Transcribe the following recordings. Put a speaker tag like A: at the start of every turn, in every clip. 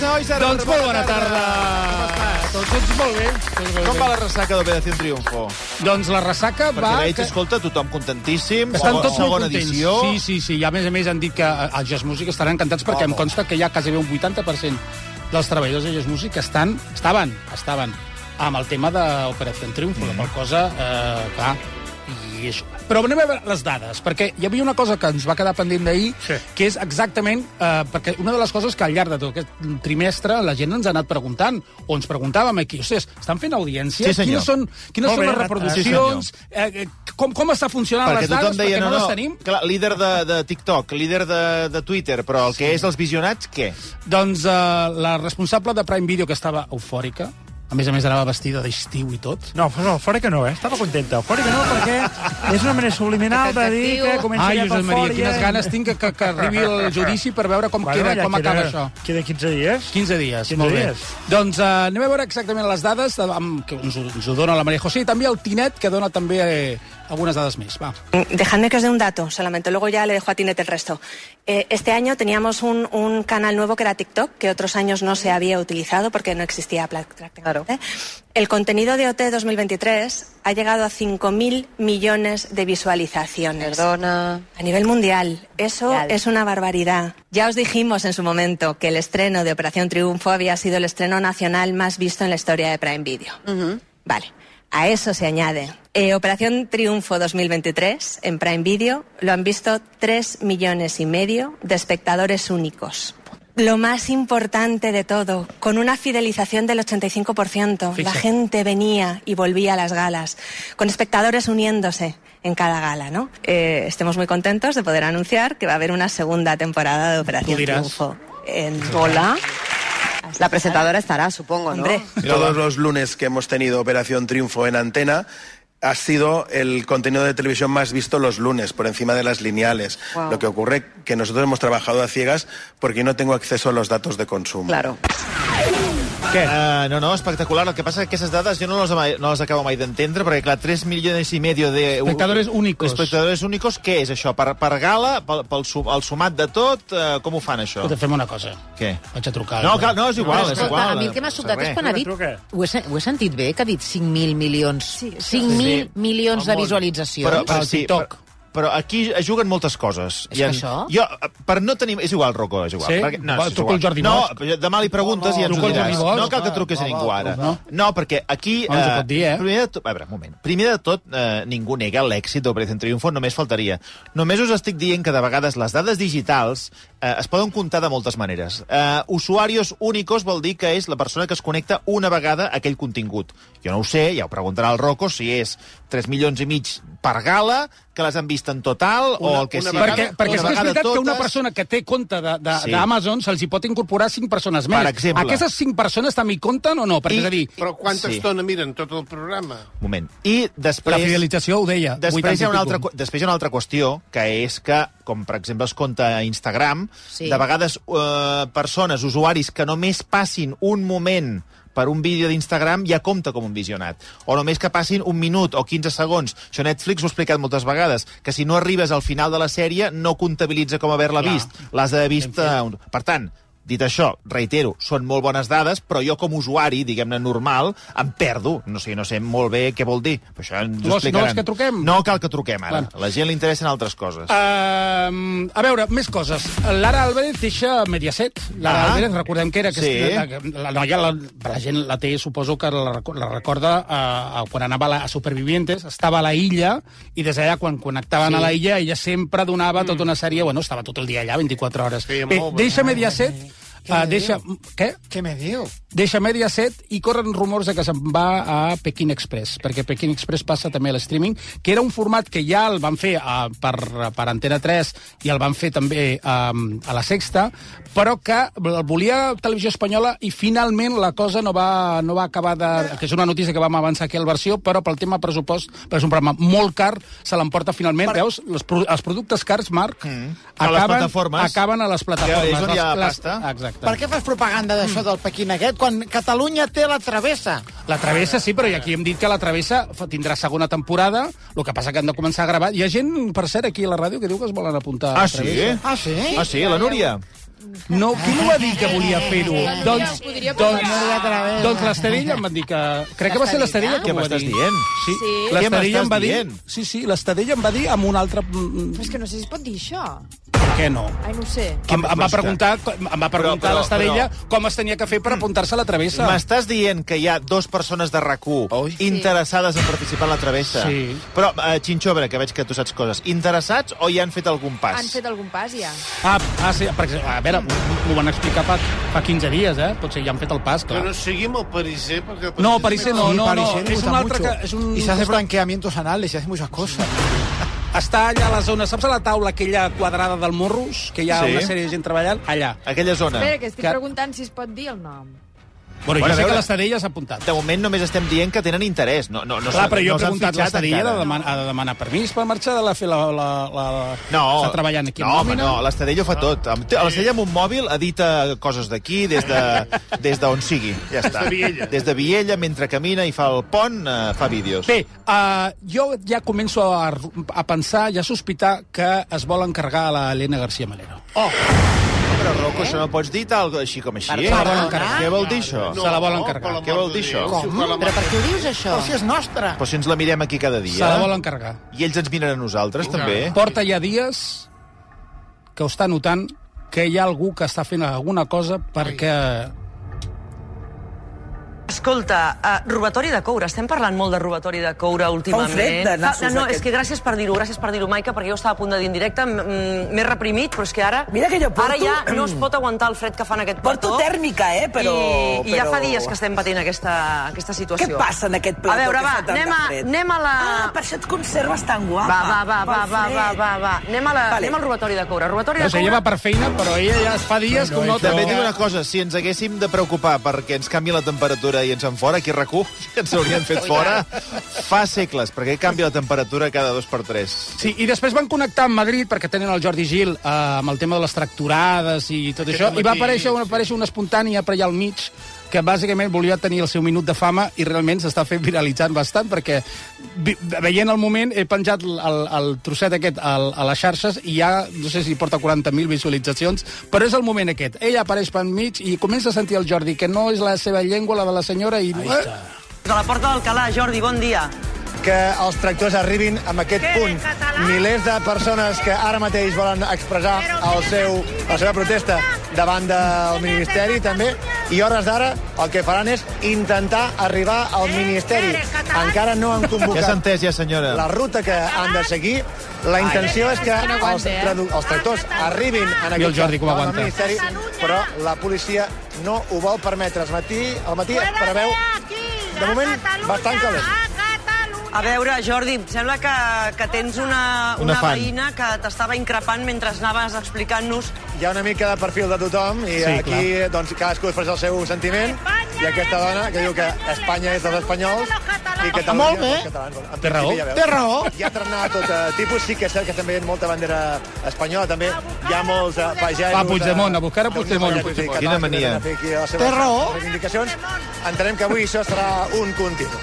A: nois. Ara
B: Doncs molt bona tarda.
A: Com estàs?
B: Doncs ets molt bé. Doncs molt
A: Com
B: bé.
A: va la ressaca d'Operació Triunfo?
B: Doncs la ressaca
A: Perquè
B: va...
A: veig,
B: que-
A: escolta, tothom contentíssim.
B: Estan
A: segona-
B: tots molt
A: segona
B: contents.
A: Edició.
B: Sí, sí, sí. I a més a més han dit que eh, els Jazz Music estaran encantats perquè
A: Vamos.
B: em consta que hi ha quasi bé un 80% dels treballadors de Jazz Music que estan, estaven, estaven amb el tema d'Operació Triunfo, mm. la qual cosa, eh, clar, i això. Però anem a veure les dades, perquè hi havia una cosa que ens va quedar pendent d'ahir, sí. que és exactament... Eh, perquè una de les coses que al llarg de tot aquest trimestre la gent ens ha anat preguntant, o ens preguntàvem aquí, ostres, estan fent audiència?
A: Sí, senyor.
B: Quines són, quines
C: Molt
B: són
C: bé,
B: les reproduccions? Sí, eh, eh, com, com està funcionant
A: Perquè
B: les dades?
A: tothom deia,
B: perquè no,
A: no,
B: les
A: no,
B: tenim?
A: Clar, líder de, de TikTok, líder de, de Twitter, però el que és els visionats, què?
B: Doncs eh, la responsable de Prime Video, que estava eufòrica, a més a més anava vestida d'estiu i tot.
C: No, no, fora que no, eh? Estava contenta. Fora que no, perquè és una manera subliminal de dir que comença
B: Ai,
C: ja
B: Josep Maria,
C: eufòria.
B: quines ganes tinc que, que, que arribi el judici per veure com,
C: Bueno,
B: queda,
C: ja
B: com acaba
C: queda-
B: això.
C: Queda 15 dies.
B: 15 dies,
C: 15
B: molt bé.
C: dies.
B: Doncs uh, anem a veure exactament les dades de, amb, que ens, ho- ens ho dona la Maria José i també el Tinet, que dona també eh, algunes dades més. Va.
D: Mm, Dejadme que os dé un dato solamente, luego ya le dejo a Tinet el resto. Eh, este año teníamos un, un canal nuevo que era TikTok, que otros años no se había utilizado porque no existía pla- prácticamente. El contenido de OT 2023 ha llegado a 5.000 millones de visualizaciones.
E: Perdona.
D: A nivel mundial, eso
E: Mundial.
D: es una barbaridad. Ya os dijimos en su momento que el estreno de Operación Triunfo había sido el estreno nacional más visto en la historia de Prime Video. Vale, a eso se añade. eh, Operación Triunfo 2023 en Prime Video lo han visto 3 millones y medio de espectadores únicos. Lo más importante de todo, con una fidelización del 85%, la
B: Fíjate.
D: gente venía y volvía a las galas, con espectadores uniéndose en cada gala, ¿no? Eh, estemos muy contentos de poder anunciar que va a haber una segunda temporada de Operación
B: dirás.
D: Triunfo. En...
E: Hola. La presentadora estará, supongo, ¿no?
D: Hombre,
F: Todos los lunes que hemos tenido Operación Triunfo en antena ha sido el contenido de televisión más visto los lunes, por encima de las lineales.
E: Wow.
F: Lo que ocurre que nosotros hemos trabajado a ciegas porque yo no tengo acceso a los datos de consumo.
E: Claro.
A: Què? Uh, no, no, espectacular. El que passa és que aquestes dades jo no les, ama- no les acabo mai d'entendre, perquè, clar, 3 milions i medio de...
B: Espectadores únicos.
A: Espectadores únicos, què és això? Per, per gala, pel, pel sum, el sumat de tot, uh, com ho fan, això?
B: Escolta, fem una cosa.
A: Què?
B: Vaig a trucar.
A: No, clar, no, és igual,
G: Però,
A: és
G: escolta,
A: igual.
G: a mi el que m'ha sobtat
A: Res.
G: és quan ha dit...
C: Truca, truca.
G: Ho he, sen- ho he sentit bé, que ha dit 5.000 milions. Sí,
D: això.
G: 5.000
A: Sí.
G: milions de
A: Al món.
G: visualitzacions.
A: Però,
B: Al
A: però, sí,
B: TikTok.
A: però, però aquí es juguen moltes coses.
G: És que això?
A: Jo, eh, per no tenir... És igual, Rocco, és igual.
B: Sí?
A: Perquè,
B: Va,
A: és
B: truca
A: igual.
B: el Jordi
A: no,
B: Bosch.
A: però demà li preguntes
B: No,
A: i ens ho
B: truca el
A: diràs.
B: Jordi Bosch.
A: No cal que truquis a
B: Va, va,
A: ningú ara.
B: no.
A: No, perquè aquí...
B: No ens ho pot dir, eh?
A: Primer de tot, a veure, un moment. Primer de tot, eh, ningú nega l'èxit d'Operación Triunfo, només faltaria. Només us estic dient que de vegades les dades digitals eh, es poden comptar de moltes maneres. Eh, usuarios únicos vol dir que és la persona que es connecta una vegada a aquell contingut. Jo no ho sé, ja ho preguntarà el Rocco, si és 3 milions i mig per gala, que les han vist en total,
F: Una-
A: o el que
F: una
A: sigui.
F: vegada-
B: Perquè, perquè
A: Una
B: sí que és
A: vegada
B: veritat totes... que una
A: totes.
B: persona que té compte d'Amazon
A: Sí.
B: sí. d'Amazon se'ls hi pot incorporar 5 persones més.
A: Per exemple.
B: Aquestes 5 persones també hi compten o no? Perquè,
A: I-
B: és a dir,
H: Però quanta
A: Sí.
H: sí. estona miren tot el programa?
A: Moment. I
B: la
A: després...
B: fidelització ho deia.
A: Després
B: 80
A: hi, ha
B: i
A: una
B: pico.
A: altra, cu- després hi ha una altra qüestió, que és que, com per exemple es compta a Instagram, sí.
G: Sí.
A: de vegades eh, persones, usuaris, que només passin un moment per un vídeo d'Instagram ja compta com un visionat. O només que passin un minut o 15 segons. Això Netflix ho ha explicat moltes vegades, que si no arribes al final de la sèrie no comptabilitza com haver-la
B: Clar.
A: vist. L'has d'haver vist... a un- Per tant, Dit això, reitero, són molt bones dades, però jo com a usuari, diguem-ne normal, em perdo. No sé, no sé molt bé què vol dir, però això ens
B: Tu
A: ho
B: vols- no
A: explicaran.
B: vols que truquem?
A: No cal que truquem ara.
B: Clar. Ah,
A: La gent li interessen altres coses.
B: Uh, a veure, més coses. Lara Álvarez deixa Mediaset. Lara
A: Ah.
B: ah, Álvarez, recordem que era... Que
A: Sí.
B: la, la, noia, la, la gent la té, suposo que la, reco- la recorda uh, quan anava a, la, a Supervivientes, estava a la illa, i des d'allà, quan connectaven sí. a la illa, ella sempre donava mm. tota una sèrie... Bueno, estava tot el dia allà, 24 hores.
H: Feia
B: Bé,
H: molt bé.
B: deixa Mediaset... Uh, deixa, què?
H: Què me diu?
B: Deixa Mediaset i corren rumors de que se'n va a Pekin Express, perquè Pekin Express passa també a l'streaming, que era un format que ja el van fer uh, per, per Antena 3 i el van fer també um, a la Sexta, però que el volia Televisió Espanyola i finalment la cosa no va, no va acabar de... que és una notícia que vam avançar aquí al versió, però pel tema pressupost, perquè és un programa molt car, se l'emporta finalment, veus? Els, pro, els productes cars, Marc, mm.
A: A les
B: acaben,
A: plataformes.
B: acaben a les plataformes.
A: Ja, és on hi ha
B: Les- les-
A: pasta.
B: Exacte. Exacte.
H: Per què fas propaganda d'això del Pequín aquest quan Catalunya té la travessa?
B: La travessa sí, però i aquí hem dit que la travessa fa- tindrà segona temporada, el que passa que han de començar a gravar. Hi ha gent, per cert, aquí a la ràdio que diu que es volen apuntar
A: Ah,
B: a la
A: sí?
B: travessa.
H: Ah, sí?
A: Ah, sí, la Núria.
B: No, qui no va dir que volia fer-ho? Doncs,
I: podria
B: doncs,
I: posar-
B: doncs l'Estadella em van dir que... Crec que va ser l'Estadella
A: Què
B: que m'ho va
A: m'estàs
B: dir.
A: dient?
I: Sí.
B: Sí,
A: Què
B: l'Estadella
A: m'estàs
B: em va dir...
A: dient?
B: Sí, sí, l'Estadella em va dir amb un altre... mm,
I: Però és que no sé si es pot dir això.
B: Per què no?
I: Ai, no ho sé.
B: Em, em va
A: M'està-
B: preguntar, em va preguntar
A: Ah, però-
B: l'Estadella com es tenia que fer per apuntar-se a la travessa.
A: M'estàs dient que hi ha dos persones de rac
B: Oi.
A: interessades en participar en la travessa.
B: Sí.
A: Però, uh, Xinxó, a veure, que veig que tu saps coses. Interessats o ja han fet algun pas?
I: Han fet algun pas, ja.
B: Ah, ah, sí, perquè, a veure, m'ho van explicar fa, fa 15 dies, eh? Potser ja han fet el pas, clar.
J: Pero seguimos parisé porque...
B: Ah. No, Parisé no,
H: Sí,
B: no, no.
H: Parisien
B: És
H: usa
B: un altre
H: mucho.
B: que... És un...
H: Y se hace blanqueamientos anales, y hace muchas cosas.
B: Està allà a la zona, saps a la taula aquella quadrada del Morros, que hi ha
A: Sí.
B: sí. una sèrie de gent treballant? Allà.
A: Aquella zona.
I: Espera, que estic
B: Que-
I: preguntant si es pot dir el nom.
B: Bueno,
A: Bueno, a
B: jo sé
A: veure-
B: que l'Estadella s'ha apuntat.
A: De moment només estem dient que tenen interès. No, no, no
B: Clar,
A: s'han-
B: però jo
A: no s'han
B: he preguntat,
A: fitxat
B: l'Estadella ha, de
A: encara.
B: demanar, ha de demanar permís per marxar de la fer la... la, la...
A: No,
B: Està treballant aquí
A: no, home,
B: nòmina?
A: no, l'Estadella ho fa tot. Amb- té- L'Estadella amb un mòbil edita coses d'aquí, des de, des d'on sigui. Ja està.
J: de Viella.
A: Des de Viella, mentre camina i fa el pont, eh, fa vídeos.
B: Bé, uh, jo ja començo a, a pensar i a sospitar que es vol encargar a la Elena García Malero.
A: Però, Rocco, això no pots dir tal, així com així. eh?
B: Perdona.
A: Què vol dir això?
B: Se la vol encargar.
A: Què vol dir això?
G: Però per què ho dius, això?
H: Però si és nostra!
A: Però si ens la mirem aquí cada
B: Se la vol
A: dia.
B: encargar.
A: I ells ens miren a nosaltres, també.
B: Porta ja dies que ho està notant que hi ha algú que està fent alguna cosa perquè...
E: Escolta, uh, robatori de coure. Estem parlant molt de robatori de coure últimament.
H: Fa un fred de nassos,
E: Ah, no, no,
H: aquest.
E: és que gràcies per dir-ho, gràcies per dir-ho, Maica, perquè jo estava a punt de dir en directe, mm, m'he reprimit, però és que ara...
H: Mira que jo porto-
E: Ara ja no es pot aguantar el fred que fan aquest plató.
H: tèrmica, eh,
E: I, I ja fa dies que estem patint aquesta, aquesta situació.
H: Què passa en aquest
E: A
H: plató
E: veure,
H: que
E: va,
H: fa tanta
E: anem a,
H: fred? Ah,
E: anem a la...
H: això et conserves tan guapa.
E: va, va, va, va, va, va, va, va. Anem, a la,
H: Vale.
E: anem al robatori de coure. Robatori
B: O
E: de
B: sigui, ella
E: coure...
B: va per feina, però ella ja fa dies que ho nota.
A: També et dic una cosa, si ens haguéssim de preocupar perquè ens canvi la temperatura i ens en fora, aquí a RAC1 ens haurien fet fora fa segles, perquè canvia la temperatura cada dos per tres.
B: Sí, i després van connectar amb Madrid perquè tenen el Jordi Gil eh, amb el tema de les tracturades i tot això, i va aparèixer, una, aparèixer una espontània per allà al mig que bàsicament volia tenir el seu minut de fama i realment s'està fent viralitzant bastant perquè vi- veient el moment he penjat el, el, el trosset aquest al, a les xarxes i ja no sé si porta 40.000 visualitzacions però és el moment aquest, ella apareix pel mig i comença a sentir el Jordi que no és la seva llengua la de la senyora i... Eh?
E: De la porta del Calà, Jordi, bon dia.
H: Que els tractors arribin amb aquest
E: Quede
H: punt.
E: català.
H: Milers de persones que ara mateix volen expressar el seu, la seva protesta davant del Ministeri, també. I a hores d'ara el que faran és intentar arribar al Ministeri. Encara no han
A: Ja s'ha
H: convocat
A: entès, ja,
H: la
A: senyora.
H: ruta que han de seguir. La intenció és que els, tradu- els tractors arribin
B: I
H: en
B: el
H: aquest
B: Jordi com
H: cas davant
B: aguanta.
H: del Ministeri, però la policia no ho vol permetre. Al matí, al matí preveu, de moment, bastant calent.
E: A veure, Jordi, em sembla que, que tens una,
A: Una
E: una,
A: fan.
E: veïna que t'estava increpant mentre anaves explicant-nos
H: Hi ha una mica de perfil de tothom
B: Sí,
H: i sí, aquí doncs, cadascú expressa el seu sentiment. I aquesta dona que diu que Espanya és dels espanyols i
B: Ah,
H: Catalunya
B: Molt bé.
H: dels catalans. En
B: Té raó.
H: principi ja veus.
B: Té raó.
H: Hi ha trenat de tot eh, tipus. Sí que és cert que estem veient molta bandera espanyola, també. Hi ha molts eh, pagesos...
B: Va, Puigdemont,
H: eh,
B: a buscar a
H: d'Unió
B: Puigdemont.
H: Europea, sí,
B: Quina
H: catalans que
A: mania.
H: venen a fer aquí les seves
B: Té raó.
H: reivindicacions. Entenem que avui això serà un continu.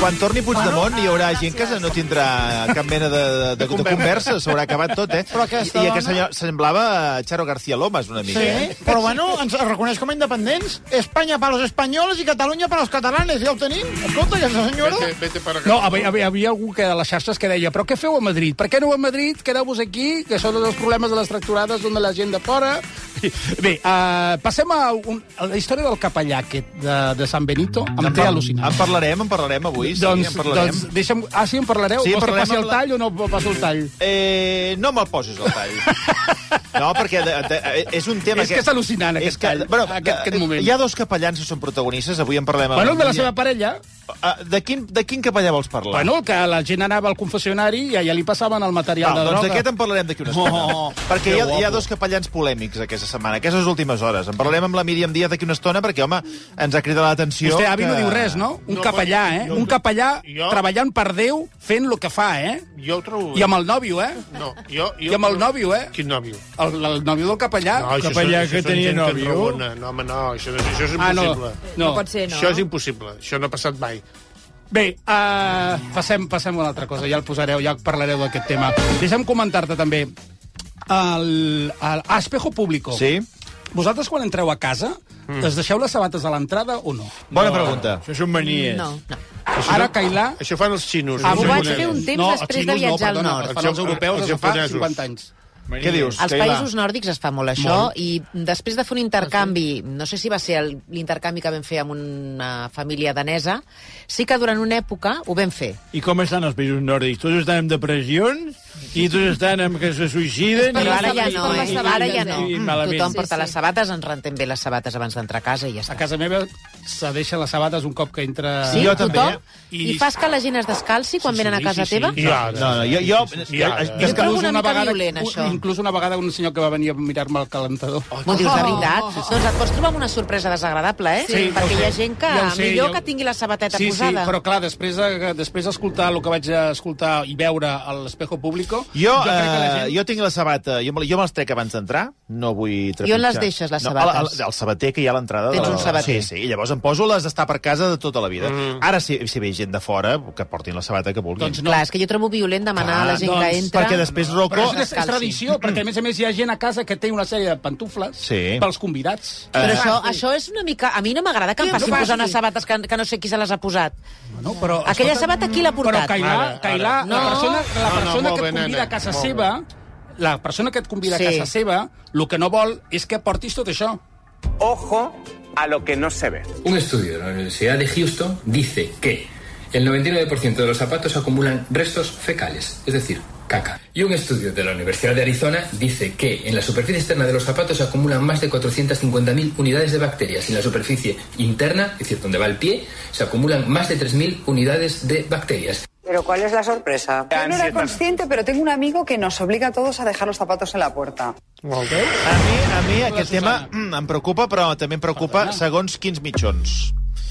A: Quan torni Puigdemont hi haurà gent que no tindrà cap mena de, de, de, de conversa, s'haurà acabat tot, eh?
H: Però aquesta
A: I, i aquest
H: dona-
A: senyor semblava Charo García Lomas, una mica, eh?
H: Sí, però bueno, ens reconeix com a independents. Espanya per als espanyols i Catalunya per als catalanes. Ja ho tenim. Escolta, aquesta senyora...
J: Vete, vete para acá.
B: No, hi havia, hi havia algú que a les xarxes que deia però què feu a Madrid? Per què no a Madrid? Quedeu-vos aquí, que són els problemes de les tracturades on la gent de fora... Bé, uh, passem a, un, a la història del capellà aquest de, de Sant Benito. Em té al·lucinat.
A: En parlarem, en parlarem avui, Ah, sí,
B: doncs,
A: en parlarem.
B: doncs deixa'm... Ah, sí, en parlareu?
A: Sí,
B: Vols que
A: parlem
B: passi
A: amb
B: el
A: la-
B: tall o no passo el tall?
A: Eh, no me'l posis al tall. No, perquè de, de, és un tema
B: És que és al·lucinant, aquest tall, aquest- aquest moment.
A: eh, Hi ha dos capellans que són protagonistes, avui en parlem.
B: Bueno,
A: amb
B: el de la seva parella.
A: Ah, de, quin, de quin capellà vols parlar?
B: Bueno, el que la gent anava al confessionari i allà li passaven el
A: Val,
B: material de
J: Ah,
A: doncs
B: droga.
A: d'aquest en parlarem d'aquí una estona.
B: Oh,
A: perquè
B: que
A: hi ha, hi ha
B: guapo.
A: dos capellans polèmics aquesta aquesta setmana, aquestes últimes hores. En parlarem amb la Míriam Díaz d'aquí una estona perquè, home, ens ha cridat l'atenció...
B: Vostè, avi,
A: que...
B: no diu res, no? Un
J: No,
B: capellà,
J: però
B: eh?
J: jo-
B: Un capellà
J: jo-
B: treballant per Déu, fent el que fa, eh?
J: Jo ho trobo... bé.
B: I amb el nòvio, eh?
J: No, jo, jo...
B: I amb el nòvio, eh? Ah,
J: Quin nòvio?
B: El, el nòvio del capellà.
J: No, això
K: capellà
J: són- això
K: que
J: són
K: tenia
J: gent
K: nòvio.
J: enrabona. No, home, no, això, no- això és
B: ah, no,
J: impossible.
B: no.
I: No pot ser, no?
J: Això és impossible, això no ha passat mai.
B: Bé, uh, passem, passem a una altra cosa, ja el posareu, ja parlareu d'aquest tema. Deixa'm comentar-te també el, el Espejo Público.
A: Sí?
B: Vosaltres quan entreu a casa, mm. es deixeu les sabates a l'entrada o no?
A: Bona pregunta.
K: Això són manies.
G: No, no.
J: Això
B: Ara,
J: no-
B: Cailà...
J: Això fan els xinos.
B: Ah,
J: els
G: Ho vaig
J: japonesos.
G: fer un temps
B: no, els
G: després
B: xinos
G: de viatjar
B: no,
G: al
B: perdona,
G: nord.
B: Es fan els
J: Els
B: europeus des de fa
J: japonesos.
B: 50 anys.
A: Què dius?
G: Als
A: Keila?
G: països nòrdics es fa molt això i després de fer un intercanvi, no sé si va ser el- l'intercanvi que vam fer amb una família danesa, sí que durant una època ho vam fer.
K: I com estan els països nòrdics? Tots estan amb depressions i tots estan amb que se suïciden...
G: Però
K: i-
G: ara ja no,
I: per les
G: eh?
I: sabates,
G: Ara ja no.
K: eh?
G: Mm,
K: Malament.
G: Tothom
I: Sí,
G: porta
I: sí.
G: les sabates, ens rentem bé les sabates abans d'entrar a casa i ja
B: A
G: està.
B: casa meva se deixen les sabates un cop que entra...
G: Sí,
A: Jo
G: tothom?
A: també.
G: I fas que la gent es descalci quan venen a casa teva?
J: I ara.
A: No, no, jo... jo,
J: I ara.
A: jo és que...
G: trobo una mica violent,
B: un-
G: això. Oh,
B: Inclús una vegada un senyor que va venir a mirar-me el calentador. Oh.
G: M'ho dius de veritat? Doncs et pots trobar amb una sorpresa desagradable, eh?
B: Sí,
G: Perquè
B: ja ho
G: hi ha
B: sé.
G: gent que
B: Ja ho sé, ja
G: millor
B: ho-
G: que tingui la sabateta
B: sí,
G: posada.
B: Sí, però clar, després de- després d'escoltar el que vaig escoltar i veure a l'Espejo Público...
A: Jo,
B: jo crec que la
A: eh,
B: gent...
A: jo tinc la sabata, jo, me, la- jo me'ls trec abans d'entrar, no vull trepitjar.
G: I on les deixes, les sabates?
A: No, el, el sabater que hi ha a l'entrada. de
G: Tens
A: la-
G: un sabater.
A: Sí, sí, i llavors em poso les d'estar per casa de tota la vida. Mm. Ara, si, si ve gent de fora, que portin la sabata que vulguin.
B: Doncs no.
G: Clar, és que jo trobo violent demanar a la gent que
B: doncs,
G: entra...
A: perquè després Rocco-
B: Però és, és
G: Descalci.
B: tradició, perquè a més a més hi ha gent a casa que té una sèrie de pantufles
A: Sí.
B: pels convidats.
G: Però això, això és una mica... A mi no m'agrada que em
B: Què
G: facin
B: fas,
G: posar unes
B: tu?
G: sabates que, que no sé qui se les ha posat.
B: No, però,
G: Aquella sabata qui l'ha
B: Però
G: portat?
B: Cailà,
J: Ara, ara.
B: Cailà la
G: No.
B: persona, la
J: No, no,
B: persona
J: molt
B: que
J: bé,
B: et convida
J: nena,
B: a casa
J: molt bé.
B: seva... La persona que et convida
G: Sí.
B: a casa seva, el que no vol és que portis tot això.
L: Ojo a lo que no se ve.
K: Un estudio de la Universidad de Houston dice que el 99% de los zapatos acumulan restos fecales, es decir, caca. Y un estudio de la Universidad de Arizona dice que en la superficie externa de los zapatos se acumulan más de 450.000 unidades de bacterias y en la superficie interna, es decir, donde va el pie, se acumulan más de 3.000 unidades de bacterias.
E: Pero ¿cuál es la sorpresa?
L: Yo no era
I: consciente, pero tengo un amigo que nos obliga a todos a dejar los zapatos en la puerta.
J: Molt bé.
A: A mi, a mi aquest tema mm, em preocupa, però també em preocupa segons quins mitjons.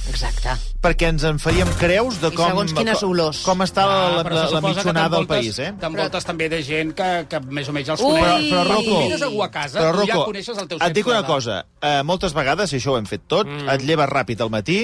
G: Exacte.
A: Perquè ens en faríem creus de
G: I
A: com...
G: segons quines
A: com-
G: olors.
A: Com està Ah, la, la,
B: Ah, però
A: la,
B: se
A: la
B: suposa que
A: mitjonada del
B: t'envoltes-
A: país, eh?
B: T'envoltes també de gent que, que més o menys els
G: Ui!
A: Però,
B: coneix.
A: però,
G: Quan
A: Rocco,
B: convides algú a casa,
A: però,
B: tu ja
A: Rocco,
B: coneixes el teu
A: et dic
B: cercle
A: una
B: de-
A: cosa. Eh, moltes vegades, i això ho hem fet tot, mm. et lleves ràpid al matí,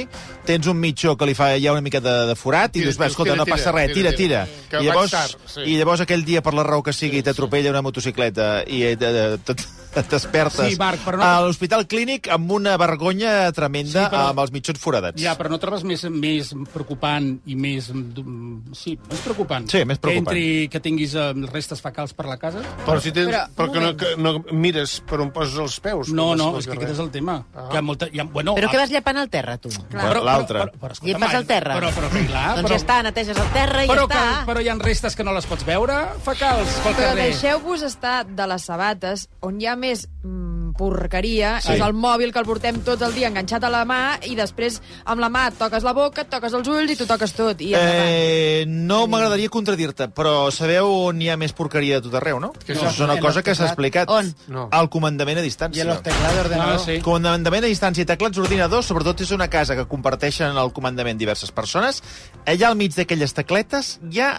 A: tens un mitjó que li fa ja una mica de, de forat, i
J: Tira,
A: dius, va,
J: tira,
A: escolta,
J: tira,
A: no
J: tira,
A: passa res, tira,
J: tira,
A: tira.
J: tira. Que
A: I llavors,
J: vaig tard, sí.
A: I llavors aquell dia, per la raó que sigui, t'atropella una motocicleta i eh, de- de- te- te- et despertes
B: Sí, Marc, però no-
A: a l'Hospital Clínic amb una vergonya tremenda
B: Sí, però-
A: amb els mitjons foradats.
B: Ja, però no trobes més, més preocupant i més... mm, Sí, més preocupant.
A: Sí, més preocupant.
B: Que, entri, que tinguis eh, restes fecals per la casa?
J: Però si tens...
I: Però,
J: Però,
I: un
J: que, no,
I: moment.
J: que no mires per on poses els peus.
B: No,
J: quan vas
B: no,
J: pel
B: és que
J: carrer.
B: aquest és el tema.
J: Ah.
B: Hi ha molta... Hi ha, bueno,
G: Però
B: a-
G: què vas llepant al terra, tu?
A: Clar. L'altre.
B: Però, però, però, escolta'm,
G: Llepes al terra.
B: Però, però, però, clar,
G: doncs
B: però,
G: ja està, neteges el terra i
B: Però,
G: ja
B: que,
G: està.
B: però hi ha restes que no les pots veure? Fecals, pel
I: Però
B: carrer.
I: deixeu-vos estar de les sabates, on hi ha més mm, porqueria,
A: Sí.
I: sí. és el mòbil que el portem tot el dia enganxat a la mà i després amb la mà et toques la boca, et toques els ulls i t'ho toques tot. I endavant.
A: Eh, no m'agradaria contradir-te, però sabeu on hi ha més porqueria de tot arreu, no?
J: Que
A: no
J: no.
A: és una cosa que s'ha explicat.
G: On?
J: No.
A: El comandament a distància.
H: teclados
B: Ah, sí.
A: Comandament a distància i teclats ordinadors, sobretot és una casa que comparteixen el comandament diverses persones. Allà al mig d'aquelles tecletes hi ha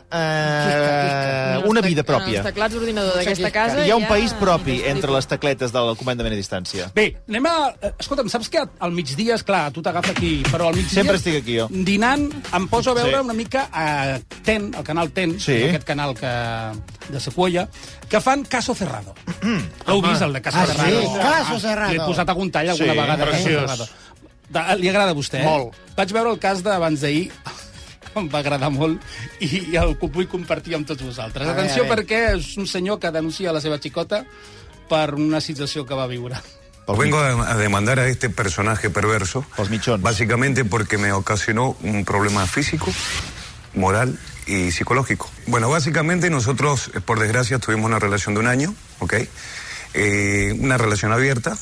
A: eh,
I: En els
A: una
I: tec-
A: vida
I: En
A: pròpia.
I: els teclats d'ordinador d'aquesta casa...
A: Hi ha un país propi entre les tecletes del comandament a distància.
B: Bé, anem a... eh, Escolta'm, saps que al migdia, és clar, tu t'agafa aquí, però al migdia...
A: Sempre estic aquí, jo.
B: Dinant, em poso a veure
A: Sí.
B: sí. una mica a TEN, el canal TEN,
A: Sí.
B: aquest canal que, de Sequoia, que fan Caso Cerrado. L'heu vist, el de Caso
H: Ah, sí?
B: Cerrado?
H: Caso
B: Ah,
H: Cerrado.
B: L'he posat algun tall alguna
A: Sí,
B: vegada. Caso
J: preciós.
B: Cerrado. De, li agrada a vostè, eh?
J: Molt.
B: Vaig veure el cas d'abans d'ahir, que em va agradar molt, i, i el que vull compartir amb tots vosaltres.
H: A veure,
B: Atenció,
H: a veure.
B: perquè és un senyor que denuncia la seva xicota per una situació que va viure.
L: Os vengo a demandar a este personaje perverso,
A: Pels mitjons.
L: básicamente porque me ocasionó un problema físico, moral y psicológico. Bueno, básicamente nosotros, eh, por desgracia, tuvimos una relación de un año, ¿ok? Eh, una relación abierta,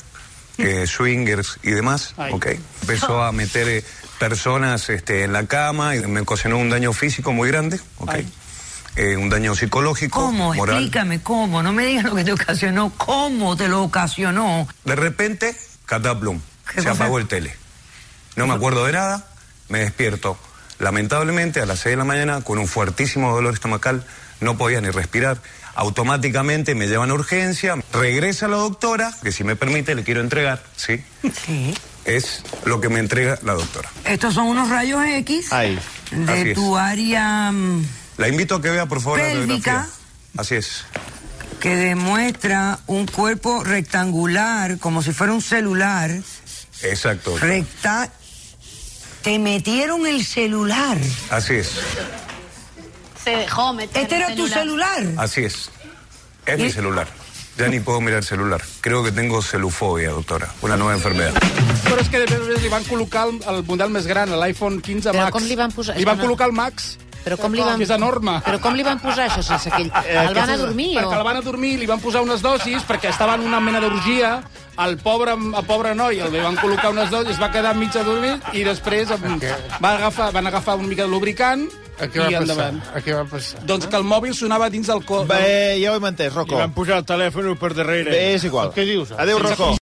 L: eh, swingers y demás,
B: Ay.
L: ¿ok? Empezó a meter eh, personas este, en la cama y me ocasionó un daño físico muy grande, ¿ok?
B: Ay.
L: eh, un daño psicológico,
E: ¿Cómo?
L: moral.
E: Explícame cómo. No me digas lo que te ocasionó. ¿Cómo te lo ocasionó?
L: De repente, cataplum, se apagó el tele. No me acuerdo de nada, me despierto. Lamentablemente, a las 6 de la mañana, con un fuertísimo dolor estomacal, no podía ni respirar. Automáticamente me llevan a urgencia, regresa la doctora, que si me permite le quiero entregar, ¿sí?
E: Sí.
L: Es lo que me entrega la doctora.
E: Estos son unos rayos X
L: Ahí.
E: de tu área mm,
L: La invito a que vea, por favor, la
E: Pélvica.
L: radiografía. Así es.
E: que demuestra un cuerpo rectangular, como si fuera un celular.
L: Exacto.
E: Recta. Te metieron el celular.
L: Así es.
M: Se dejó meter.
E: Este
M: el
E: era tu celular.
L: Así es. Es mi celular. Ya ni puedo mirar el celular. Creo que tengo celufobia, doctora. Una nueva enfermedad.
B: Però és que després li van col·locar el, el model més gran, l'iPhone 15 Max.
G: Però com li van posar...
B: Li van col·locar el Max.
G: Però com li van...
B: Que és enorme.
G: Però com li van posar això sense que
A: Eh,
G: ell... El van adormir
B: Perquè el
G: o...?
B: van adormir, li van posar unes dosis, perquè estava en una mena d'orgia, el pobre, el pobre noi el van col·locar unes dosis, es va quedar mig adormit i després em, va agafar, van agafar una mica de lubricant
J: A què
B: i
J: va passar?
B: endavant.
J: A què va passar?
B: Doncs que el mòbil sonava dins del cor.
A: Bé, ja ho hem entès, Rocco.
J: Li van pujar el telèfon per darrere.
A: Bé, és igual.
J: Què dius?
A: Adéu, Rocco.